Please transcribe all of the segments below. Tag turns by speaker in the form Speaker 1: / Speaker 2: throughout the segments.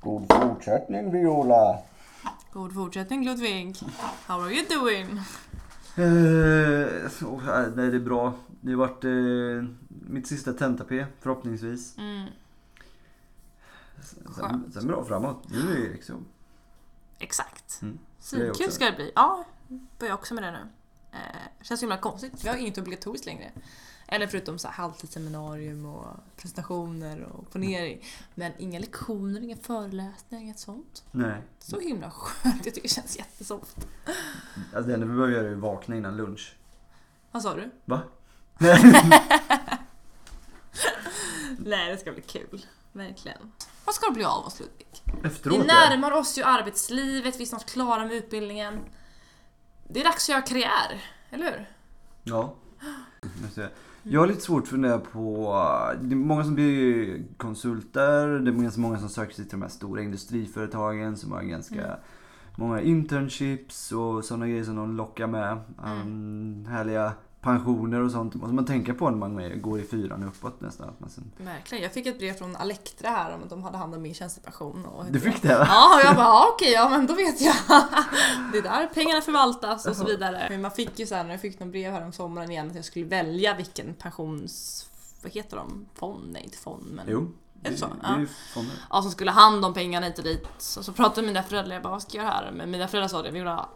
Speaker 1: God fortsättning Viola!
Speaker 2: God fortsättning Ludvig. How are you doing?
Speaker 3: Eh, så, eh, nej, det är bra. Det har varit eh, mitt sista tenta-P, förhoppningsvis.
Speaker 2: Mm,
Speaker 3: Sen,
Speaker 2: Skönt.
Speaker 3: sen bra framåt. Nu är det liksom.
Speaker 2: exakt.
Speaker 3: Mm, det är
Speaker 2: Svinkul
Speaker 3: också.
Speaker 2: ska det bli. Ja, börjar också med det nu. Eh, känns himla konstigt. Vi har inget obligatoriskt längre. Eller förutom så här halvtidsseminarium och presentationer och ponering. Men inga lektioner, inga föreläsningar, inget sånt.
Speaker 3: Nej.
Speaker 2: Så himla skönt. Jag tycker det känns jättesoft.
Speaker 3: Alltså, det enda vi behöver göra är att vakna innan lunch.
Speaker 2: Vad sa du?
Speaker 3: Va?
Speaker 2: Nej, det ska bli kul. Verkligen. Vad ska det bli av oss Ludvig? Vi
Speaker 3: Efteråt ja.
Speaker 2: närmar oss ju arbetslivet, vi är snart klara med utbildningen. Det är dags att göra karriär, eller hur?
Speaker 3: Ja. Just det. Jag har lite svårt att fundera på... Det är många som blir konsulter. Det är ganska många som söker sig till de här stora industriföretagen som har ganska
Speaker 2: Mm.
Speaker 3: många internships och sådana grejer som de lockar med.
Speaker 2: Mm.
Speaker 3: Um, härliga pensioner och sånt. Måste man tänka på när man är- går i fyran och uppåt nästan. Att man sen...
Speaker 2: Verkligen. Jag fick ett brev från Alektra här om att de hade hand om min tjänstepension. Och
Speaker 3: Du fick det va?
Speaker 2: Ja, och jag bara ja, okej, ja men då vet jag. Det är där pengarna förvaltas och så vidare. Men man fick ju sen, jag fick någon brev här om sommaren igen att jag skulle välja vilken pensions... Vad heter de? Fond? Nej, inte fond men...
Speaker 3: Jo.
Speaker 2: Är det så?
Speaker 3: Det är ju fonder.
Speaker 2: Ja, som skulle ha hand om pengarna hit och dit. Så, så pratade jag med mina föräldrar, jag bara vad ska jag göra här? Men mina föräldrar sa det, Viola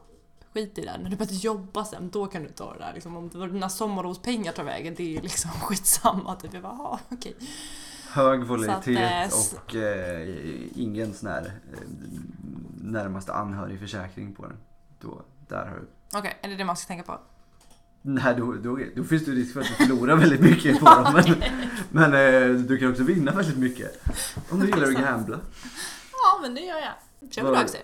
Speaker 2: skit i det. När du börjar jobba sen, då kan du ta det där. Liksom, om det var dina sommarlovspengar tar vägen, det är ju liksom skitsamma. Typ. Jag bara, "Ja, okej.
Speaker 3: Hög
Speaker 2: eh,
Speaker 3: volatilitet
Speaker 2: s-
Speaker 3: och eh, ingen sån här eh, närmaste anhörigförsäkring på den. Då, där har du.
Speaker 2: Okej, är det det man ska tänka på?
Speaker 3: Nej, då, då, då finns det ju risk för att du förlorar väldigt mycket på dem. Men, men eh, du kan också vinna väldigt mycket. Om du gillar att gambla.
Speaker 2: Ja, men det gör jag. Köper du
Speaker 3: Vad-
Speaker 2: aktier?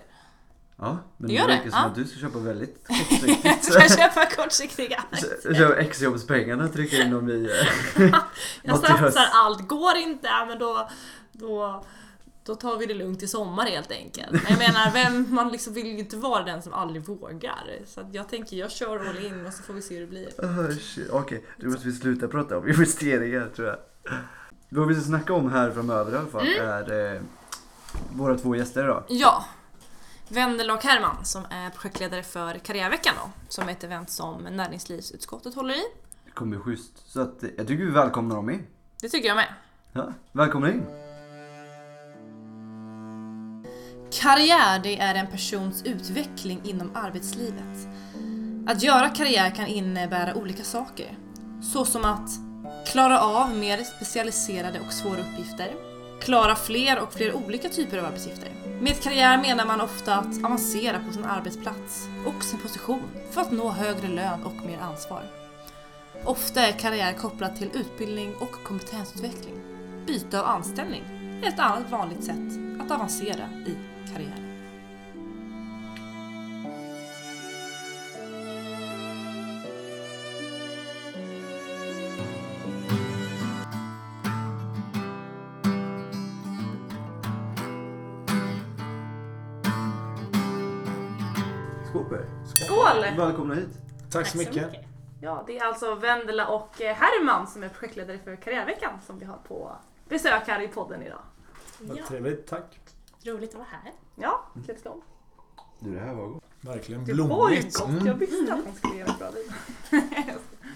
Speaker 3: Ja,
Speaker 2: Du
Speaker 3: men det
Speaker 2: gör det?
Speaker 3: verkar som
Speaker 2: Ja.
Speaker 3: att du ska köpa väldigt
Speaker 2: Jag
Speaker 3: kortsiktigt.
Speaker 2: ska köpa kortsiktiga
Speaker 3: Så- så Exjobbspengarna och trycka in dem i... eh,
Speaker 2: Jag
Speaker 3: något i höst.
Speaker 2: satsar allt. Går inte, ja, men då, då, då tar vi det lugnt i sommar helt enkelt. Men Jag menar, vem, man liksom vill ju inte vara den som aldrig vågar. Så att jag tänker, jag kör all in och så får vi se hur det blir.
Speaker 3: Oh, shit. Okej, nu måste vi sluta prata om investeringar tror jag. Vad vi ska snacka om här framöver i alla fall
Speaker 2: Mm.
Speaker 3: är eh, våra två gäster idag.
Speaker 2: Ja. Wendela och Herman som är projektledare för Karriärveckan då, som är ett event som näringslivsutskottet håller i.
Speaker 3: Det kommer bli schysst. Så att, eh, jag tycker vi välkomnar dem in.
Speaker 2: Det tycker jag med.
Speaker 3: Ja, välkomna in.
Speaker 2: Karriär, det är en persons utveckling inom arbetslivet. Att göra karriär kan innebära olika saker. Såsom att klara av mer specialiserade och svåra uppgifter. Klara fler och fler olika typer av arbetsuppgifter. Med karriär menar man ofta att avancera på sin arbetsplats och sin position för att nå högre lön och mer ansvar. Ofta är karriär kopplat till utbildning och kompetensutveckling. Byte av anställning är ett annat vanligt sätt att avancera i karriären.
Speaker 3: Skål på er.
Speaker 2: Skål!
Speaker 3: Välkomna hit.
Speaker 4: Tack så mycket.
Speaker 2: Ja, det är alltså Vendela och eh, Herman som är projektledare för Karriärveckan som vi har på besök här i podden idag.
Speaker 4: Vad trevligt, tack.
Speaker 5: Roligt att vara här.
Speaker 2: Ja, let's go.
Speaker 3: Du, det här var gott.
Speaker 4: Verkligen
Speaker 2: Det var ju
Speaker 4: blommigt. Mm.
Speaker 2: gott, jag visste att man skulle göra bra vin.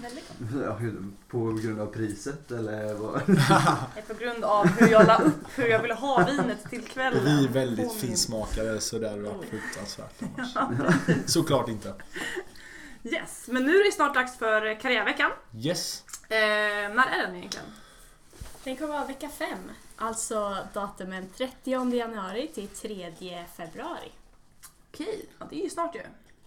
Speaker 5: Väldigt gott.
Speaker 3: Ja, hur- På grund av priset eller vad?
Speaker 2: Det är På grund av hur jag la upp hur jag ville ha vinet till kvällen.
Speaker 4: Vi är
Speaker 2: På
Speaker 4: väldigt
Speaker 2: min-
Speaker 4: finsmakare så det hade varit
Speaker 5: Mm.
Speaker 4: fruktansvärt annars. Såklart inte.
Speaker 2: Yes, men nu är det snart dags för eh, Karriärveckan.
Speaker 4: Yes.
Speaker 2: Eh, när är den egentligen?
Speaker 5: Den kommer vara vecka fem. Alltså datumen 30 januari till 3 februari.
Speaker 2: Okej, ja, det är ju snart ju.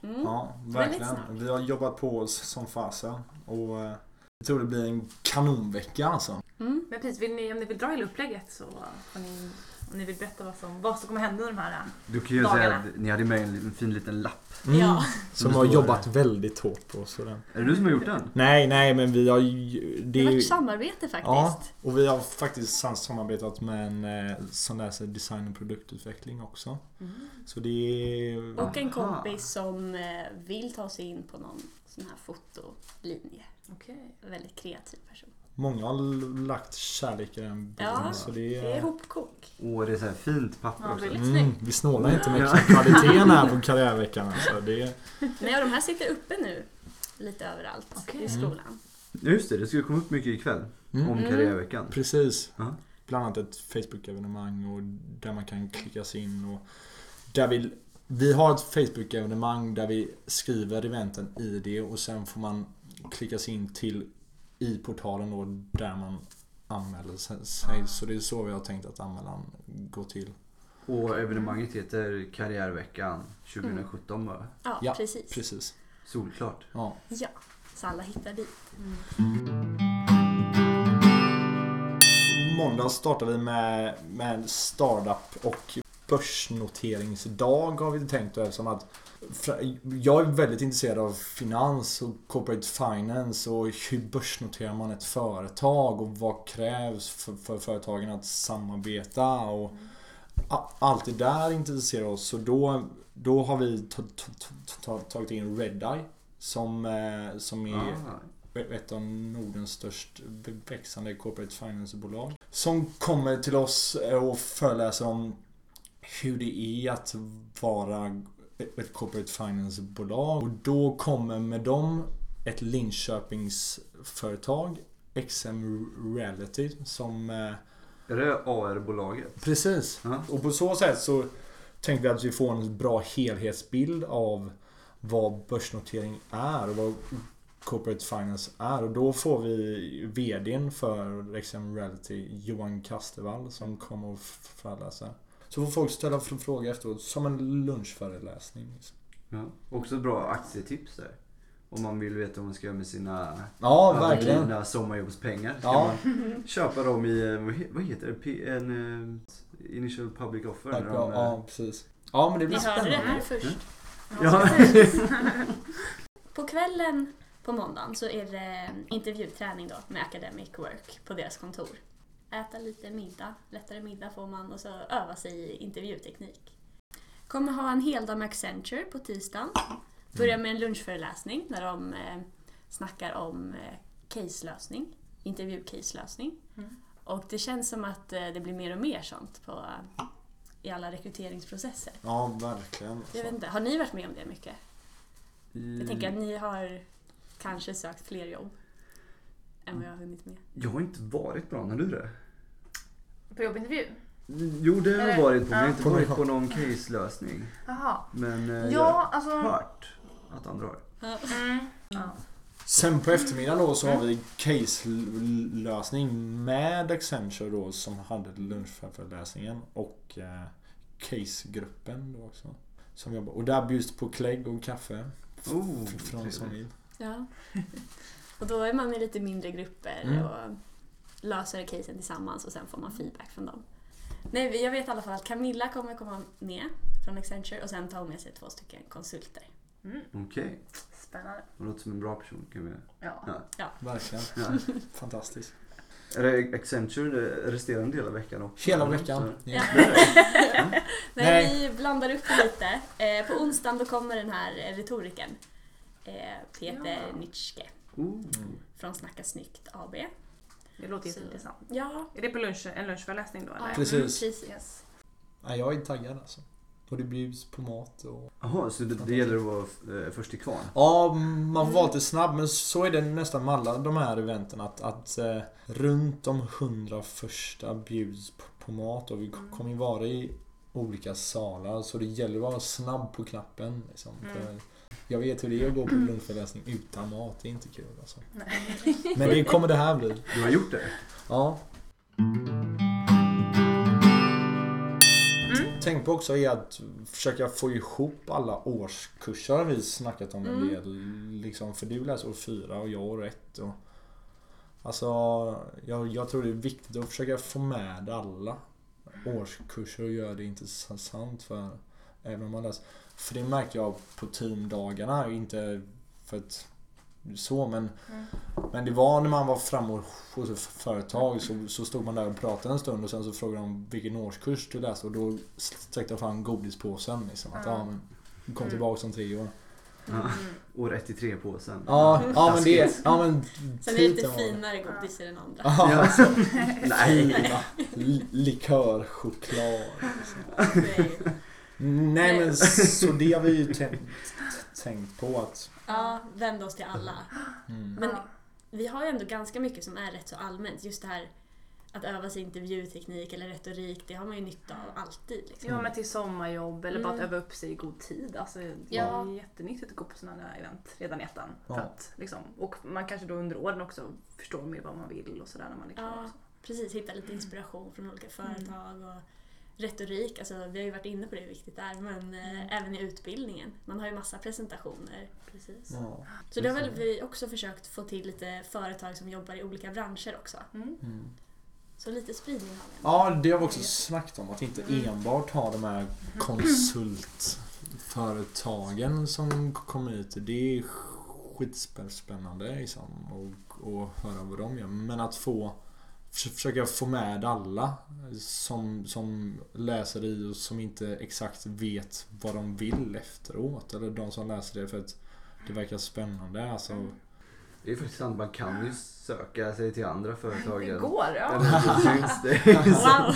Speaker 5: Mm.
Speaker 4: Ja,
Speaker 5: snabbt.
Speaker 4: verkligen. Vi har jobbat på oss som fasen och eh, jag tror det blir en kanonvecka alltså.
Speaker 5: Mm.
Speaker 2: Men precis, vill ni, om ni vill dra hela upplägget så får ni, om ni vill berätta vad som, vad som kommer hända under de här. eh,
Speaker 3: Du kan ju
Speaker 2: Dagarna.
Speaker 3: säga att ni hade med en liten, fin liten lapp.
Speaker 5: Ja.
Speaker 4: Mm. Som har jobbat väldigt hårt på oss. och den-
Speaker 3: Är det du som har gjort den?
Speaker 4: Nej, nej, men vi har ju...
Speaker 5: Det har
Speaker 4: är
Speaker 5: varit
Speaker 4: ju-
Speaker 5: samarbete faktiskt.
Speaker 4: Ja, och vi har faktiskt sam- samarbetat med en eh, som läser design och produktutveckling också. Så det är...
Speaker 5: Mm. Och en
Speaker 3: Aha.
Speaker 5: kompis som eh, vill ta sig in på någon sån här fotolinje.
Speaker 2: Okej.
Speaker 5: En väldigt kreativ person.
Speaker 4: Många har l- lagt kärlek i den bilden.
Speaker 6: Ja,
Speaker 4: så det
Speaker 6: Det är
Speaker 4: är...
Speaker 6: hopkok.
Speaker 3: Åh, det är så här fint papper
Speaker 6: Ja,
Speaker 3: också.
Speaker 6: väldigt
Speaker 4: Mm,
Speaker 6: snyggt.
Speaker 4: vi snålar inte med
Speaker 3: Ja.
Speaker 4: kvaliteten här på karriärveckan. Alltså. Det är...
Speaker 6: Nej, och de här sitter uppe nu. Lite överallt
Speaker 7: Okej.
Speaker 6: i skolan.
Speaker 3: Ja, Just det, det ska ju komma upp mycket ikväll. Om
Speaker 4: mm.
Speaker 6: Mm.
Speaker 3: karriärveckan.
Speaker 4: Precis.
Speaker 3: Ja.
Speaker 4: Bland annat ett Facebook-evenemang och där man kan klicka sig in. Och där vi, vi har ett Facebook-evenemang där vi skriver eventen i det och sen får man klicka sig in till i portalen då där man anmäler se- sig. Så det är så vi har tänkt att anmälan går till.
Speaker 3: Och evenemanget heter Karriärveckan 2017 va?
Speaker 6: Ja,
Speaker 4: Ja,
Speaker 6: precis.
Speaker 4: Precis.
Speaker 3: Solklart.
Speaker 4: Ja.
Speaker 6: Ja, så alla hittar dit.
Speaker 4: Måndag startar vi med, med startup och börsnoteringsdag har vi tänkt då, eftersom att fra- jag är väldigt intresserad av finans och corporate finance och hur börsnoterar man ett företag och vad krävs för, för företagen att samarbeta och a- allt det där intresserar oss. Så då, då har vi ta- ta- ta- ta- tagit in Redeye som, eh, som är
Speaker 3: Ah,
Speaker 4: ett av Nordens störst växande corporate finance-bolag. Som kommer till oss och föreläser om hur det är att vara ett corporate finance-bolag. Och då kommer med dem ett Linköpingsföretag, XM Reality, som eh,
Speaker 3: är det AR-bolaget?
Speaker 4: Precis.
Speaker 3: Ja.
Speaker 4: Och på så sätt så tänkte vi att vi får en bra helhetsbild av vad börsnotering är och vad corporate finance är. Och då får vi VDn för XM Reality, Johan Kastervall, som kommer och f- föreläsa. Så får folk ställa fr- frågor efteråt, som en lunchföreläsning. Liksom.
Speaker 3: Ja. Också bra aktietips där. Om man vill veta vad man ska göra med sina
Speaker 4: Ja, verkligen.
Speaker 3: övergivna sommarjobbspengar. Ska
Speaker 4: Ja.
Speaker 3: man köpa dem i, eh, vad he- vad heter det? P- En eh, Initial Public Offer?
Speaker 4: Ja,
Speaker 3: när de, eh,
Speaker 4: ja, precis. Ja, Mm. men det blir
Speaker 6: Ni hörde det här
Speaker 4: spännande.
Speaker 6: först.
Speaker 3: Ja.
Speaker 6: På kvällen på måndagen så är det intervjuträning då med academic work på deras kontor. Äta lite middag, lättare middag får man och så öva sig i intervjuteknik. Kommer ha en heldag med Accenture på tisdagen. Börjar med en lunchföreläsning där de eh, snackar om eh, caselösning, intervjucaselösning. Och det känns som att eh, det blir mer och mer sånt på, i alla rekryteringsprocesser.
Speaker 4: Ja, verkligen.
Speaker 6: Jag vet inte, har ni varit med om det mycket? Jag tänker
Speaker 4: Mm.
Speaker 6: att ni har kanske sökt fler jobb än vad jag har hunnit med.
Speaker 3: Jag har inte varit bra, när du det?
Speaker 2: På jobbintervju?
Speaker 3: Jo, det har jag
Speaker 2: Eller-
Speaker 3: varit på, men jag har inte
Speaker 4: Ja.
Speaker 3: varit på någon case-lösning.
Speaker 2: Jaha.
Speaker 3: Men eh,
Speaker 2: Ja,
Speaker 3: jag har
Speaker 2: alltså...
Speaker 3: hört att andra har.
Speaker 2: Mm. Ja.
Speaker 4: Sen på eftermiddagen då så har vi case-lösning med Accenture då som hade lunchföreläsningen och eh, case-gruppen då också. Som jobbar. Och där bjuds på klägg och kaffe.
Speaker 3: Oh,
Speaker 4: F- från som
Speaker 3: trevligt.
Speaker 4: vill.
Speaker 6: Ja. Och då är man i lite mindre grupper
Speaker 4: Mm.
Speaker 6: och löser casen tillsammans och sen får man feedback från dem. Nej, vi- jag vet i alla fall att Camilla kommer komma med från Accenture och sen tar hon med sig två stycken konsulter.
Speaker 3: Okej,
Speaker 2: Spännande.
Speaker 3: hon låter som en bra person. Kan vi...
Speaker 2: Ja.
Speaker 3: Ja.
Speaker 4: Verkligen.
Speaker 3: Ja.
Speaker 4: Fantastiskt.
Speaker 3: Är det Accenture det resterande del av veckan också?
Speaker 4: Hela
Speaker 3: eller?
Speaker 4: veckan.
Speaker 3: Så-
Speaker 4: Ja.
Speaker 6: Nej,
Speaker 4: Nej.
Speaker 6: vi blandar upp det lite. Eh, på onsdagen då kommer den här eh, retoriken. Eh, Peter Nitschke
Speaker 3: Oh.
Speaker 6: från Snacka snyggt AB.
Speaker 2: Det låter
Speaker 6: Så-
Speaker 2: jätteintressant.
Speaker 6: Ja,
Speaker 2: Är det på lunch, en lunchföreläsning då eller?
Speaker 6: Mm,
Speaker 4: mm, Precis.
Speaker 2: Yes.
Speaker 4: Nej, jag är taggad alltså. Och det bjuds på mat och...
Speaker 3: Jaha, så det, det gäller att vara eh, först till kvarn?
Speaker 4: Ja, man får vara lite snabb men så är det nästan med alla de här eventen att, att eh, runt de hundra första bjuds på, på mat och vi k- kommer ju vara i olika salar så det gäller att vara snabb på knappen. Liksom. För Jag vet hur det är att gå på lunchföreläsning utan mat, det är inte kul alltså. Men det kommer det här bli.
Speaker 3: Du har gjort det?
Speaker 4: Ja. Tänk på också är att försöka få ihop alla årskurser har vi snackat om en del. Liksom, för du läser år fyra och jag år ett. Och, alltså, jag, jag tror det är viktigt att försöka få med alla årskurser och göra det intressant för även om man läser. För det märkte jag på teamdagarna, inte för att så men men det var när man var framme hos ett företag så, så stod man där och pratade en stund och sen så frågade de vilken årskurs du läste och då sträckte jag fram godispåsen. Liksom, att, ja, men, kom tillbaka om tre år.
Speaker 2: Mm.
Speaker 3: År 1 till 3 påsen.
Speaker 4: Ja, ja men det... Ja men...
Speaker 6: Sen är det lite
Speaker 4: titeln var det.
Speaker 6: finare godis i den andra.
Speaker 4: Ja,
Speaker 3: Nej.
Speaker 4: li- likörchoklad.
Speaker 6: Nej.
Speaker 4: Nej men så det har vi ju tänkt, tänkt på att...
Speaker 6: Ja, vänd oss till alla.
Speaker 4: Mm.
Speaker 6: Men vi har ju ändå ganska mycket som är rätt så allmänt. Just det här att öva sig i intervjuteknik eller retorik, det har man ju nytta av alltid. Liksom.
Speaker 2: Ja men till sommarjobb eller bara att
Speaker 6: Mm.
Speaker 2: öva upp sig i god tid. Alltså, det är
Speaker 6: Ja.
Speaker 2: jättenyttigt att gå på sådana här event redan i ettan.
Speaker 4: Ja.
Speaker 2: För att, liksom, och man kanske då under åren också förstår mer vad man vill och sådär när man är klar.
Speaker 6: Ja,
Speaker 2: också.
Speaker 6: precis. Hitta lite inspiration från olika företag och retorik. Alltså, vi har ju varit inne på det hur viktigt det är, men eh, även i utbildningen. Man har ju massa presentationer. Precis.
Speaker 4: Ja.
Speaker 6: Så det har väl vi också försökt få till lite företag som jobbar i olika branscher också.
Speaker 2: Mm.
Speaker 4: Mm.
Speaker 6: Så lite spridning har vi.
Speaker 4: Ja, det har vi också snackat om. Att inte enbart ha de här konsultföretagen som kom ut. Det är skitspännande liksom, och, och höra vad de gör. Men att få förs- försöka få med alla som, som läser i och som inte exakt vet vad de vill efteråt. Eller de som läser det för att det verkar spännande. Alltså,
Speaker 3: Det är faktiskt sant, man kan ju söka sig till andra företag.
Speaker 2: Det går!
Speaker 3: Eller
Speaker 2: Ja.
Speaker 3: Det finns, det,
Speaker 6: Wow!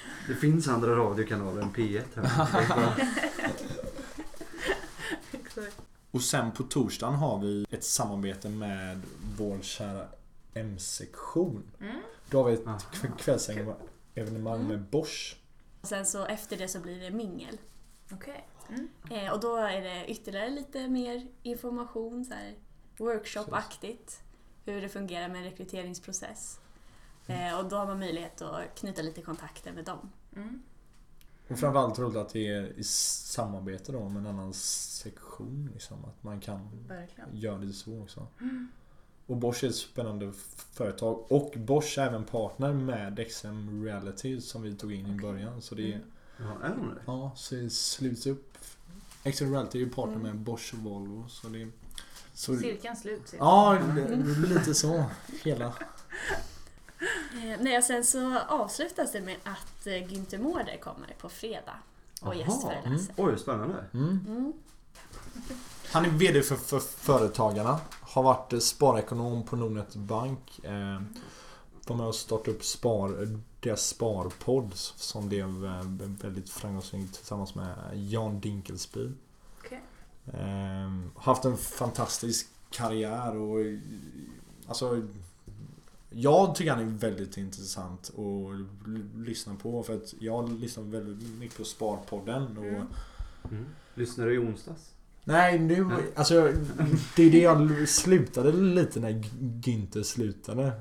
Speaker 3: det finns andra radiokanaler än P1 här.
Speaker 2: Exakt.
Speaker 4: Och sen på torsdagen har vi ett samarbete med vår kära M-sektion. Då har vi ett
Speaker 3: Aha,
Speaker 4: kv- kvällsevenemang med Bosch.
Speaker 6: Och sen så efter det så blir det mingel.
Speaker 2: Okej.
Speaker 6: Eh, och då är det ytterligare lite mer information, så här workshopaktigt. Hur det fungerar med rekryteringsprocess.
Speaker 3: Mm.
Speaker 6: Eh, och då har man möjlighet att knyta lite kontakter med dem.
Speaker 2: Mm.
Speaker 4: Och framförallt roligt att det är i samarbete då med en annan sektion. Liksom, att man kan
Speaker 2: Verkligen.
Speaker 4: göra det så också. Och Bosch är ett spännande f- företag. Och Bosch är även partner med XM Reality som vi tog in i början. Så det är,
Speaker 3: Ja, är de det?
Speaker 4: Ja, så det sluts upp. Extra Reality är ju partner med Bosch och Volvo. Så det, så,
Speaker 2: Cirkeln sluts.
Speaker 4: ja, det- det är lite så. Hela.
Speaker 6: Eh, nej, och sen så avslutas det med att eh, Günther Mårder kommer på fredag och
Speaker 3: Aha.
Speaker 6: gästföreläser.
Speaker 3: Oj, spännande.
Speaker 6: Mm.
Speaker 4: Han är VD för, för Företagarna. Har varit eh, sparekonom på Nordnet Bank. Eh, var med och startade upp spar, deras sparpodd som blev eh, väldigt framgångsrikt tillsammans med Jan Dinkelsby.
Speaker 2: Okej.
Speaker 4: Ehm, haft en fantastisk karriär och eh, alltså jag tycker han är väldigt intressant att l- lyssna på för att jag lyssnar väldigt mycket på Sparpodden och
Speaker 2: Mm.
Speaker 3: Mm. Lyssnar du i onsdags?
Speaker 4: Nej nu, alltså det är det jag slutade lite när Günther slutade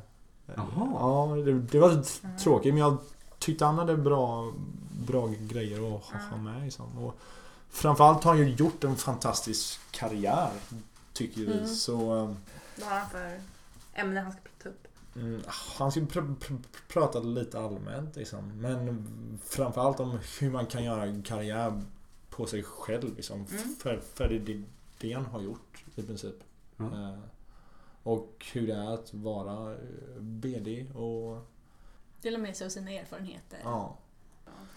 Speaker 3: Jaha.
Speaker 4: Ja, det, det var tråkigt men jag tyckte han hade bra, bra grejer att ha ha med liksom. och Framförallt har han ju gjort en fantastisk karriär Tycker vi
Speaker 6: Mm.
Speaker 4: så eh,
Speaker 2: Vad har han för ämne han ska ta upp?
Speaker 4: Mm, han skulle pr- pr- prata lite allmänt liksom. Men framförallt om hur man kan göra karriär på sig själv liksom.
Speaker 2: Mm.
Speaker 4: För, för det, det, det han har gjort i princip.
Speaker 3: Ja.
Speaker 4: Eh, och hur det är att vara eh, BD och
Speaker 6: Dela med sig av sina erfarenheter.
Speaker 4: ja.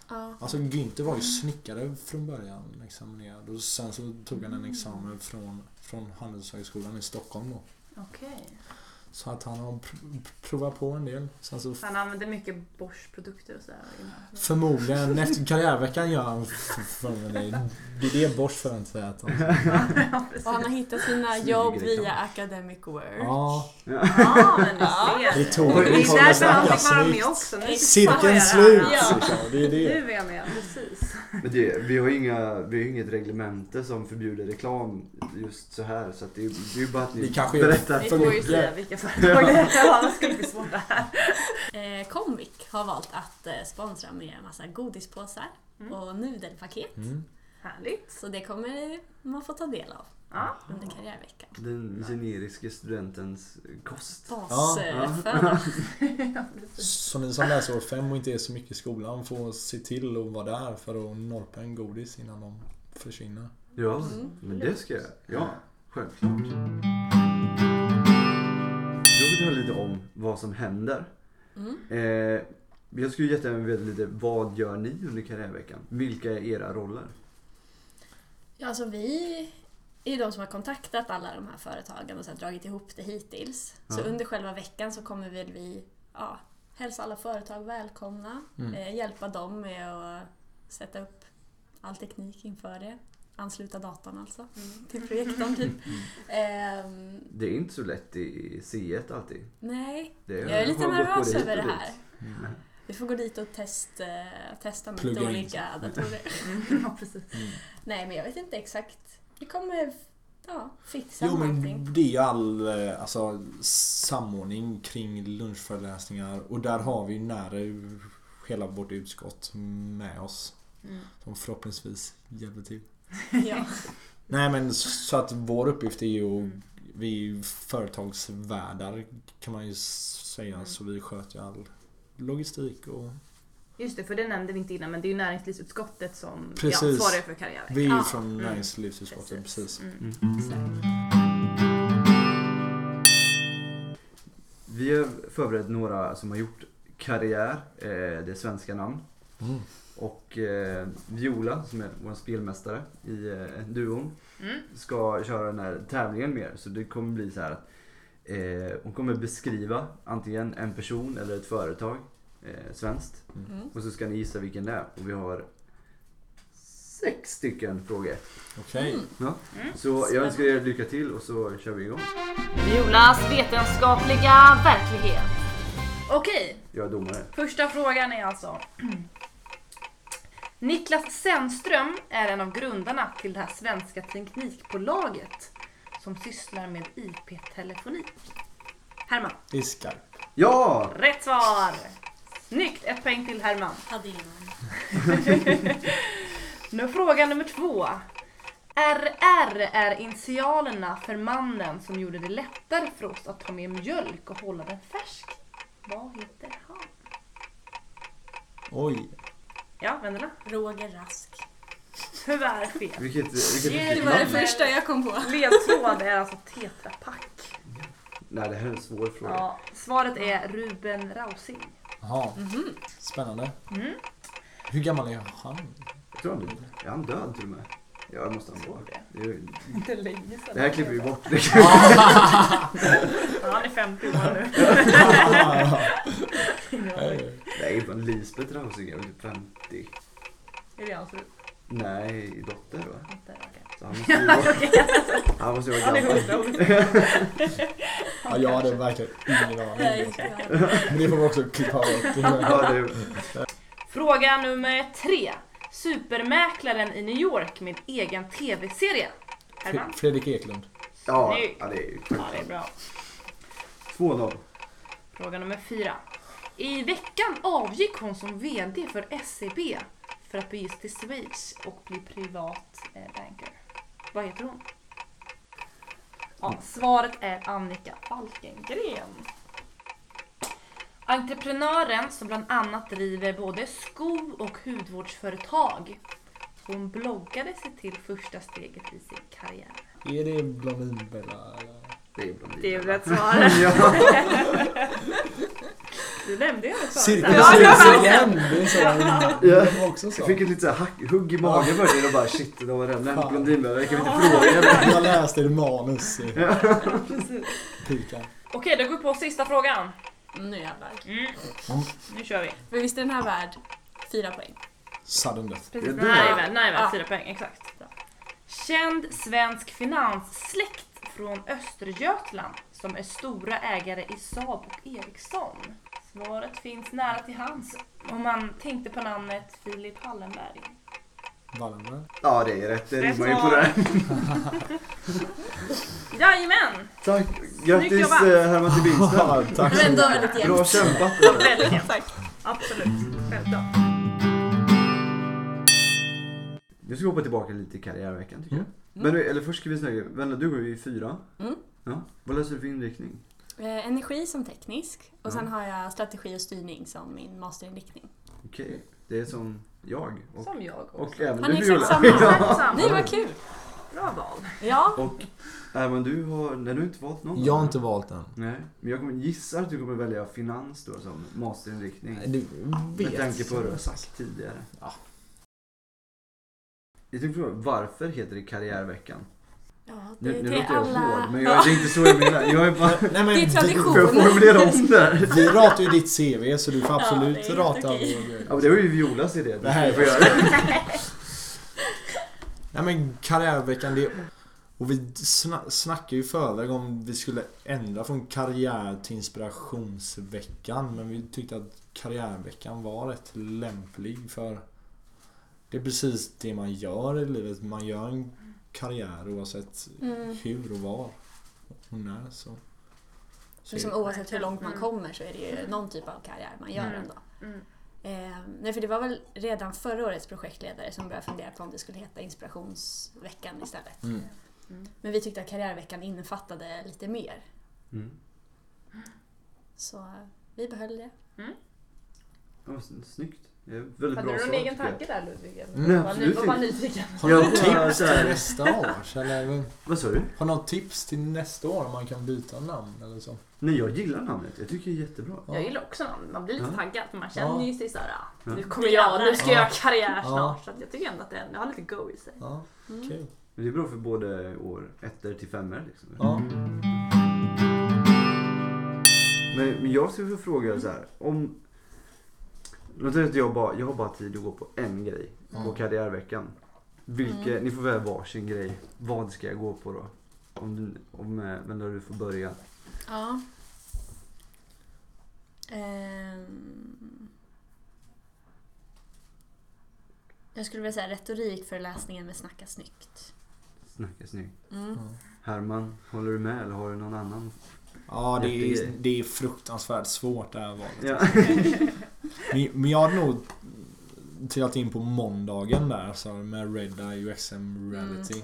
Speaker 6: Ja.
Speaker 4: Alltså Günther var ju snickare från början examinerad och sen så tog han en examen från, från Handelshögskolan i Stockholm då.
Speaker 2: Okej.
Speaker 4: Så att han har pr- provat på en del. Sen så
Speaker 2: Han använder mycket Bosch-produkter och sådär innan.
Speaker 4: Förmodligen. Efter karriärveckan gör han förmodligen det. Det är det Bosch förväntar att han
Speaker 2: Ja,
Speaker 6: Och han
Speaker 2: precis.
Speaker 6: har hittat sina
Speaker 3: Smyger
Speaker 6: jobb
Speaker 3: reklam.
Speaker 6: via Academic Work.
Speaker 4: Ja.
Speaker 2: Ja, men du ser.
Speaker 4: Vi tog-
Speaker 2: det är
Speaker 4: vi tog
Speaker 2: därför han
Speaker 4: snacka
Speaker 2: fick vara med
Speaker 4: snyggt.
Speaker 2: också. Nu förstår jag
Speaker 4: Cirkeln
Speaker 2: det
Speaker 4: slut!
Speaker 2: här.
Speaker 6: Ja.
Speaker 4: liksom. Det är det.
Speaker 2: Nu är jag med, precis.
Speaker 3: Men det, vi har ju inga, vi har ju inget reglemente som förbjuder reklam just så här. Så att det, är- det är ju bara att ni
Speaker 4: Vi kanske gör
Speaker 3: berättar.
Speaker 2: Vi
Speaker 4: för
Speaker 2: får ju
Speaker 4: mycket.
Speaker 2: säga vilka företag det är. Annars skulle det bli svårt det här.
Speaker 6: Eh, Comviq har valt att eh, sponsra med en massa godispåsar
Speaker 2: Mm.
Speaker 6: och nudelpaket.
Speaker 4: Mm.
Speaker 2: Härligt.
Speaker 6: Så det kommer man få ta del av
Speaker 2: Ja.
Speaker 6: under karriärveckan.
Speaker 3: Den generiske studentens kost.
Speaker 6: Basföda.
Speaker 4: Så ni som läser år 5 och inte är så mycket i skolan får se till att vara där för att norpa en godis innan de försvinner.
Speaker 3: Ja,
Speaker 6: Mm.
Speaker 3: men det ska jag. Ja, självklart. Då vill jag lite om vad som händer.
Speaker 6: Mm.
Speaker 3: Eh, jag skulle jättegärna vilja veta lite, vad gör ni under karriärveckan? Vilka är era roller?
Speaker 6: Ja, alltså vi är ju de som har kontaktat alla de här företagen och sen dragit ihop det hittills. Så
Speaker 3: Ja.
Speaker 6: under själva veckan så kommer väl vi ja, hälsa alla företag välkomna,
Speaker 4: Mm.
Speaker 6: eh, hjälpa dem med att sätta upp all teknik inför det. Ansluta datorn alltså, till projektorn typ. Ehm,
Speaker 3: Det är inte så lätt i C1 alltid.
Speaker 6: nej,
Speaker 3: Det
Speaker 6: jag är lite
Speaker 3: man går
Speaker 6: nervös
Speaker 3: hit och
Speaker 6: över det
Speaker 3: dit.
Speaker 6: här. Vi får gå dit och test, eh, testa med
Speaker 4: Plugga
Speaker 6: lite
Speaker 4: in
Speaker 6: olika datorer.
Speaker 2: ja, precis.
Speaker 6: Nej, men jag vet inte exakt. Vi kommer ja, fixa
Speaker 4: Jo
Speaker 6: någonting.
Speaker 4: men det är ju all eh, alltså, samordning kring lunchföreläsningar och där har vi ju nära ju hela vårt utskott med oss.
Speaker 2: Mm.
Speaker 4: Som förhoppningsvis hjälper till.
Speaker 6: Ja.
Speaker 4: Nej men så att vår uppgift är ju att vi är ju företagsvärdar kan man ju säga så vi sköter ju all logistik och
Speaker 2: Just det, för det nämnde vi inte innan men det är ju näringslivsutskottet som ja,
Speaker 4: Precis.
Speaker 2: svarar för karriärveckan.
Speaker 4: vi är ju
Speaker 6: Ja.
Speaker 4: från
Speaker 2: Mm.
Speaker 4: näringslivsutskottet precis.
Speaker 2: Mm.
Speaker 3: Vi har förberett några som har gjort karriär. Eh, det är svenska namn.
Speaker 4: Mm.
Speaker 3: Och eh, Viola, som är vår spelmästare i eh, duon,
Speaker 2: Mm.
Speaker 3: ska köra den här tävlingen mer. Så det kommer bli så här att eh, hon kommer beskriva antingen en person eller ett företag, eh, svenskt.
Speaker 6: Mm.
Speaker 3: Och så ska ni gissa vilken det är. Och vi har sex stycken frågor.
Speaker 4: Okej.
Speaker 3: Så jag önskar er lycka till och så kör vi igång.
Speaker 8: Violas vetenskapliga verklighet.
Speaker 2: Okej,
Speaker 3: Jag är domare.
Speaker 2: första frågan är alltså. Niklas Sennström är en av grundarna till det här svenska teknikbolaget som sysslar med IP-telefoni. Herman,
Speaker 4: I Skype.
Speaker 3: Ja!
Speaker 2: rätt svar! Snyggt, ett poäng till Herman.
Speaker 6: Hade ingen aning.
Speaker 2: Nu fråga nummer två. RR är initialerna för mannen som gjorde det lättare för oss att ta med mjölk och hålla den färsk. Vad heter han?
Speaker 4: Oj.
Speaker 2: Ja, Vendela.
Speaker 6: Roger Rask.
Speaker 2: Tyvärr fel.
Speaker 3: Vilket, vilket
Speaker 2: Det
Speaker 6: Det
Speaker 3: vilket
Speaker 6: var det
Speaker 3: namn?
Speaker 6: första jag kom på.
Speaker 2: Ledtråd är alltså Tetra Pak.
Speaker 3: Nej, det här är en svår fråga.
Speaker 2: Ja, svaret är Ruben Rausing.
Speaker 4: Jaha.
Speaker 6: Mhm.
Speaker 4: Spännande.
Speaker 2: Mm.
Speaker 4: Hur gammal är han?
Speaker 3: Jag tror han är, är han död till och med? Ja, det måste han vara. Det, är ju-
Speaker 2: Inte länge sedan.
Speaker 3: det här klipper vi bort.
Speaker 2: Ja, Han är 50 år nu. Ingen aning.
Speaker 3: Nej, fan Lisbeth Rausing är väl typ 50?
Speaker 2: Är det hans fru?
Speaker 3: Nej, dotter va?
Speaker 2: Inte, okej.
Speaker 3: Så han måste ju vara, han måste ju vara
Speaker 2: Han är
Speaker 3: gammal.
Speaker 2: 100 år.
Speaker 4: Ja, jag hade verkligen ingen aning.
Speaker 6: Nej, jag-
Speaker 4: Men det får vi också klippa bort.
Speaker 3: Ja, det är,
Speaker 2: Fråga nummer tre. Supermäklaren i New York med egen tv-serie. Herman?
Speaker 4: Fredrik Eklund.
Speaker 3: ja,
Speaker 2: Snyggt.
Speaker 3: ja, det är ju
Speaker 2: Ja, det är bra.
Speaker 3: 2-0.
Speaker 2: Fråga nummer fyra. I veckan avgick hon som VD för SEB för att bege sig till Schweiz och bli privat eh, banker. Vad heter hon? Ja, svaret är Annika Falkengren. Entreprenören som bland annat driver både sko och hudvårdsföretag. Hon bloggade sig till första steget i sin karriär.
Speaker 4: Är det Blondinbella?
Speaker 3: Det är bland
Speaker 2: Det är
Speaker 3: annat.
Speaker 2: väl rätt svar. Du nämnde ju ett svar.
Speaker 4: Cirkus cirkus igen! Det är så de också sa.
Speaker 3: Jag fick ett litet så här hack, hugg i magen började och bara shit, det var den nämnt
Speaker 4: Fan.
Speaker 3: Blondinbella, jag kan inte fråga henne.
Speaker 4: Jag läste i manus. Pika.
Speaker 2: Okej, då går vi på sista frågan.
Speaker 6: Nu jävlar.
Speaker 2: Mm. Nu kör vi.
Speaker 6: Men visst är den här värd fyra poäng?
Speaker 4: Sudden death.
Speaker 2: Precis.
Speaker 3: Det är
Speaker 2: Nej,
Speaker 3: bra.
Speaker 2: väl, nej, väl.
Speaker 6: Ja.
Speaker 2: Fyra poäng, exakt. Bra. Känd svensk finanssläkt från Östergötland som är stora ägare i Saab och Ericsson. Svaret finns nära till hands om man tänkte på namnet Filip Hallenberg.
Speaker 4: Wallenberg.
Speaker 3: Ja, det är rätt. Det
Speaker 2: Rätt
Speaker 3: rimmar ju på
Speaker 2: svar.
Speaker 3: det. här.
Speaker 2: Jajamän!
Speaker 3: Tack! Grattis
Speaker 2: jobbat.
Speaker 3: eh, Herman till vinsten.
Speaker 4: Ja, tack så
Speaker 6: Men ändå
Speaker 4: mycket.
Speaker 6: väldigt jämnt.
Speaker 3: Bra kämpat!
Speaker 2: Väldigt jämnt.
Speaker 6: Tack.
Speaker 2: Absolut. Självklart.
Speaker 3: Nu ska vi hoppa tillbaka lite i karriärveckan tycker
Speaker 4: Mm.
Speaker 3: jag. Men, eller först ska vi snacka, Vendela du går ju i fyra.
Speaker 6: Mm.
Speaker 3: Ja. Vad läser du för inriktning?
Speaker 6: Eh, Energi som teknisk och sen har jag strategi och styrning som min masterinriktning.
Speaker 3: Okej, det är som jag och,
Speaker 2: Som jag också.
Speaker 3: och även
Speaker 6: Han är
Speaker 3: du
Speaker 6: exakt
Speaker 3: Viola.
Speaker 6: samma.
Speaker 2: Exakt
Speaker 6: Nej
Speaker 2: samma.
Speaker 6: vad kul!
Speaker 2: Bra val.
Speaker 6: Ja,
Speaker 3: Och Herman du har, nej du har inte valt någon?
Speaker 4: Jag har
Speaker 3: va?
Speaker 4: inte valt den.
Speaker 3: Nej, men jag kommer, gissar att du kommer välja finans då som masterinriktning.
Speaker 4: Du vet.
Speaker 3: Med tanke på vad du har
Speaker 4: som sagt.
Speaker 3: sagt tidigare. Jag tänkte fråga, varför heter det karriärveckan?
Speaker 6: Ja, det,
Speaker 3: Nu, nu
Speaker 6: det är
Speaker 3: låter jag hård,
Speaker 6: alla...
Speaker 3: men jag, det är inte så jag menar. Jag är bara...
Speaker 4: Nej,
Speaker 6: Det
Speaker 3: Får
Speaker 6: är
Speaker 3: jag
Speaker 6: tradition.
Speaker 3: formulera om det här?
Speaker 4: Vi ratar ju ditt CV så du får absolut
Speaker 6: det är
Speaker 4: rata
Speaker 6: helt okej.
Speaker 4: vår grej.
Speaker 3: Ja, men det var ju Violas idé.
Speaker 4: Det här är-
Speaker 3: Du får göra det.
Speaker 4: Nej men karriärveckan det Och vi sna- snackade ju i förväg om vi skulle ändra från karriär till inspirationsveckan Men vi tyckte att karriärveckan var rätt lämplig för Det är precis det man gör i livet. Man gör en karriär oavsett
Speaker 6: Mm.
Speaker 4: hur och var och när så. så
Speaker 2: Typ.
Speaker 6: Liksom, oavsett hur långt man kommer så är det ju någon typ av karriär man gör
Speaker 2: Mm.
Speaker 6: ändå.
Speaker 2: Mm.
Speaker 6: Eh, nej, för det var väl redan förra årets projektledare som började fundera på om det skulle heta Inspirationsveckan istället.
Speaker 4: Mm.
Speaker 2: Mm.
Speaker 6: Men vi tyckte att karriärveckan innefattade lite mer.
Speaker 3: Mm.
Speaker 6: Så eh, vi behöll det.
Speaker 3: Ja, men Snyggt. Det är ett väldigt
Speaker 2: Hade
Speaker 3: bra
Speaker 2: du
Speaker 3: svar,
Speaker 2: någon egen
Speaker 3: tycker jag.
Speaker 2: tanke där Ludvig? eller?
Speaker 4: Nej,
Speaker 2: Var ny-
Speaker 3: absolut
Speaker 2: Var bara
Speaker 3: inte.
Speaker 2: nyfiken.
Speaker 4: Har du något
Speaker 3: Jag bara
Speaker 4: tips
Speaker 3: så här-
Speaker 4: till nästa år? Eller,
Speaker 3: Vad sa du?
Speaker 4: har du något tips till nästa år om man kan byta namn eller så?
Speaker 3: Nej, jag gillar namnet. Jag tycker det är jättebra.
Speaker 4: Ja.
Speaker 2: Jag gillar också namn. Man blir lite
Speaker 3: Ja.
Speaker 2: taggad för man känner
Speaker 4: Ja. Mm.
Speaker 2: ju sig såhär, ah, nu
Speaker 3: Ja.
Speaker 2: kommer jag, nu ska
Speaker 4: Ja.
Speaker 2: jag göra karriär
Speaker 4: Ja.
Speaker 2: snart. Så att jag tycker ändå att det det har lite go i sig.
Speaker 4: Ja, kul.
Speaker 3: Men det är bra för både år ettor till femmor liksom.
Speaker 4: Ja.
Speaker 3: Men, men jag skulle vilja fråga så här. Om... Låt säga att jag bara, jag har bara tid att gå på en grej på
Speaker 4: Mm.
Speaker 3: karriärveckan. Vilke,
Speaker 2: Mm.
Speaker 3: Ni får välja varsin grej. Vad ska jag gå på då? Om, du- om eh, vem där du får börja.
Speaker 6: Ja. Ehm. Jag skulle vilja säga retorikföreläsningen med Snacka snyggt.
Speaker 3: Snacka snyggt.
Speaker 7: Mm.
Speaker 3: Herman, håller du med eller har du någon annan?
Speaker 4: Ja, det är,
Speaker 3: Jättegrej.
Speaker 4: det är fruktansvärt svårt det här valet.
Speaker 3: Ja.
Speaker 4: Men, men jag hade nog trillat in på måndagen där alltså, med Red Eye UXM Reality.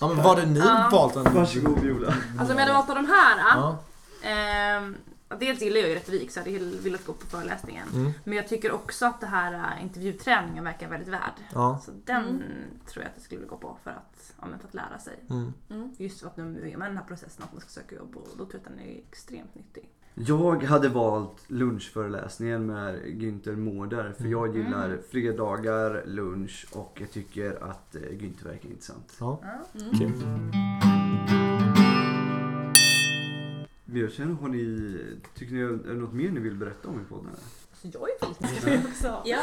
Speaker 4: Ja, men var det
Speaker 2: Mm.
Speaker 4: ni
Speaker 2: Ja.
Speaker 4: valt en...
Speaker 3: Varsågod Viola.
Speaker 2: Alltså om jag hade valt på de här. ah,
Speaker 4: Mm. Ja.
Speaker 2: Ehm, dels gillar jag ju Rättvik så jag hade hell- velat gå på föreläsningen.
Speaker 4: Mm.
Speaker 2: Men jag tycker också att det här eh, intervjuträningen verkar väldigt värd.
Speaker 4: Ja.
Speaker 2: Så den tror jag att jag skulle vilja gå på för att, ja, men för att lära sig.
Speaker 4: Mm.
Speaker 2: Just för att nu är man i den här processen att man ska söka jobb och då tror jag att den är extremt nyttig.
Speaker 3: Jag hade valt lunchföreläsningen med Günther Mårder för
Speaker 6: Mm.
Speaker 3: jag gillar fredagar, lunch och jag tycker att eh, Günther verkar intressant.
Speaker 4: Ja.
Speaker 6: Mm.
Speaker 4: Kul.
Speaker 3: Men Jag känner, har ni, tycker ni är det något mer ni vill berätta om i podden? eller?
Speaker 2: Så jag är väldigt nyfiken också.
Speaker 6: Ja,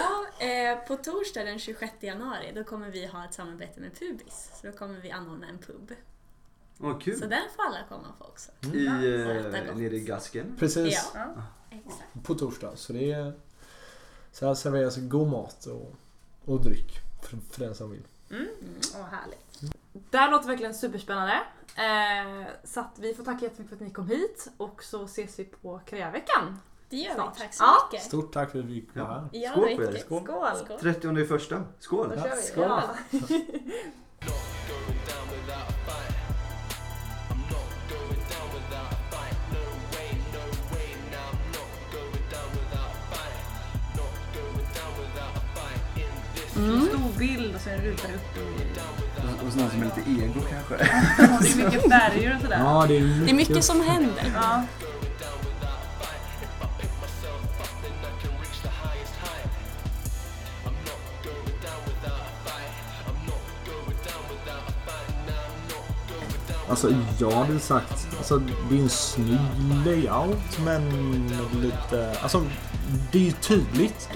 Speaker 6: eh, på torsdag den 26 januari då kommer vi ha ett samarbete med Pubis. Så då kommer vi anordna en pub.
Speaker 3: Ja,
Speaker 6: Så
Speaker 3: kul!
Speaker 6: den får alla komma på också.
Speaker 3: I,
Speaker 6: Äta
Speaker 3: eh,
Speaker 6: gott.
Speaker 3: nere i Gasken.
Speaker 4: Precis
Speaker 6: Ja,
Speaker 2: Ja.
Speaker 6: exakt.
Speaker 4: på torsdag. Så det är... Så här serveras god mat och, och dryck. För, för den som vill.
Speaker 2: Åh, härligt. Det här låter verkligen superspännande. Eh, så att vi får tacka jättemycket för att ni kom hit och så ses vi på karriärveckan.
Speaker 6: Det gör
Speaker 2: Snart.
Speaker 6: vi. Tack så
Speaker 2: Ja.
Speaker 6: mycket.
Speaker 4: Stort tack för att vi fick vara här.
Speaker 6: Ja,
Speaker 3: Skål på er.
Speaker 6: riktigt.
Speaker 3: Skål.
Speaker 6: Skål.
Speaker 3: 30 i första. Skål!
Speaker 2: Då kör vi.
Speaker 4: Skål.
Speaker 2: Ja. En stor bild och så en ruta upp och
Speaker 3: Och- Och sådana som är lite ego kanske.
Speaker 2: det är mycket färger och sådär.
Speaker 4: Ja, det är mycket.
Speaker 6: Det är mycket som händer.
Speaker 2: Ja.
Speaker 4: Alltså jag hade sagt, alltså det är en snygg layout men lite, alltså det är ju tydligt.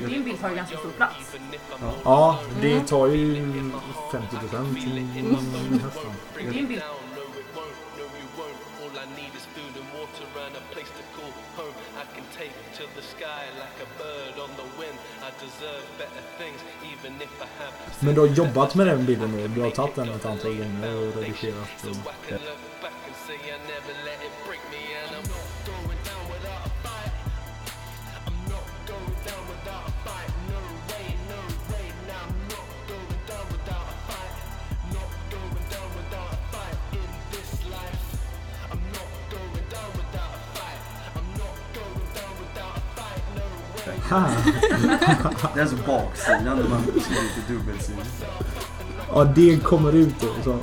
Speaker 2: Men Din bild tar ju ganska stor plats.
Speaker 4: Ja, det tar ju 50 procent nästan.
Speaker 2: Din bild
Speaker 9: down, no it won't, no you won't. All I need is food and water and a place to call home. I can take to the sky like a bird on the wind. I deserve better things, even if I have.
Speaker 4: Men du har jobbat med den bilden nu, du har tagit den ett antal gånger och redigerat.
Speaker 9: So
Speaker 4: Och...
Speaker 9: I can look back and say I never let it break me, and I'm not going down without a fight. I'm not going down without a fight. No way, no way. Now I'm not going down without a fight. Not going down without a fight in this life. I'm not going down without a fight. I'm not going down without a fight. No way.
Speaker 3: Det är alltså baksidan där man skriver lite dubbelsidigt.
Speaker 4: Ja, det kommer ut då. Så.
Speaker 9: I'm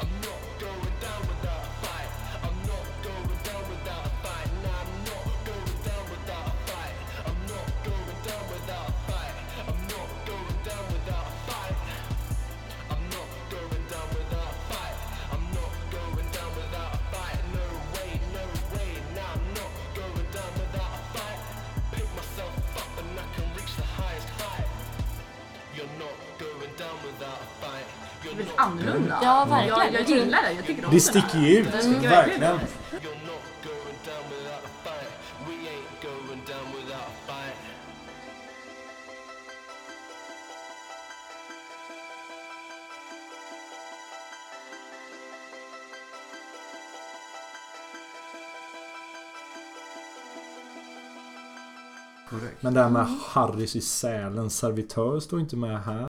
Speaker 9: not
Speaker 2: väldigt annorlunda.
Speaker 6: Ja,
Speaker 2: Jag, jag
Speaker 6: verkligen.
Speaker 2: gillar det, jag tycker om den
Speaker 4: Det
Speaker 2: här.
Speaker 4: sticker ju ut,
Speaker 2: Mm.
Speaker 4: verkligen.
Speaker 9: You're not going down without a fight. We ain't going down without a fight.
Speaker 10: Korrekt.
Speaker 4: Men det här med Harrys i Sälen servitör står inte med här.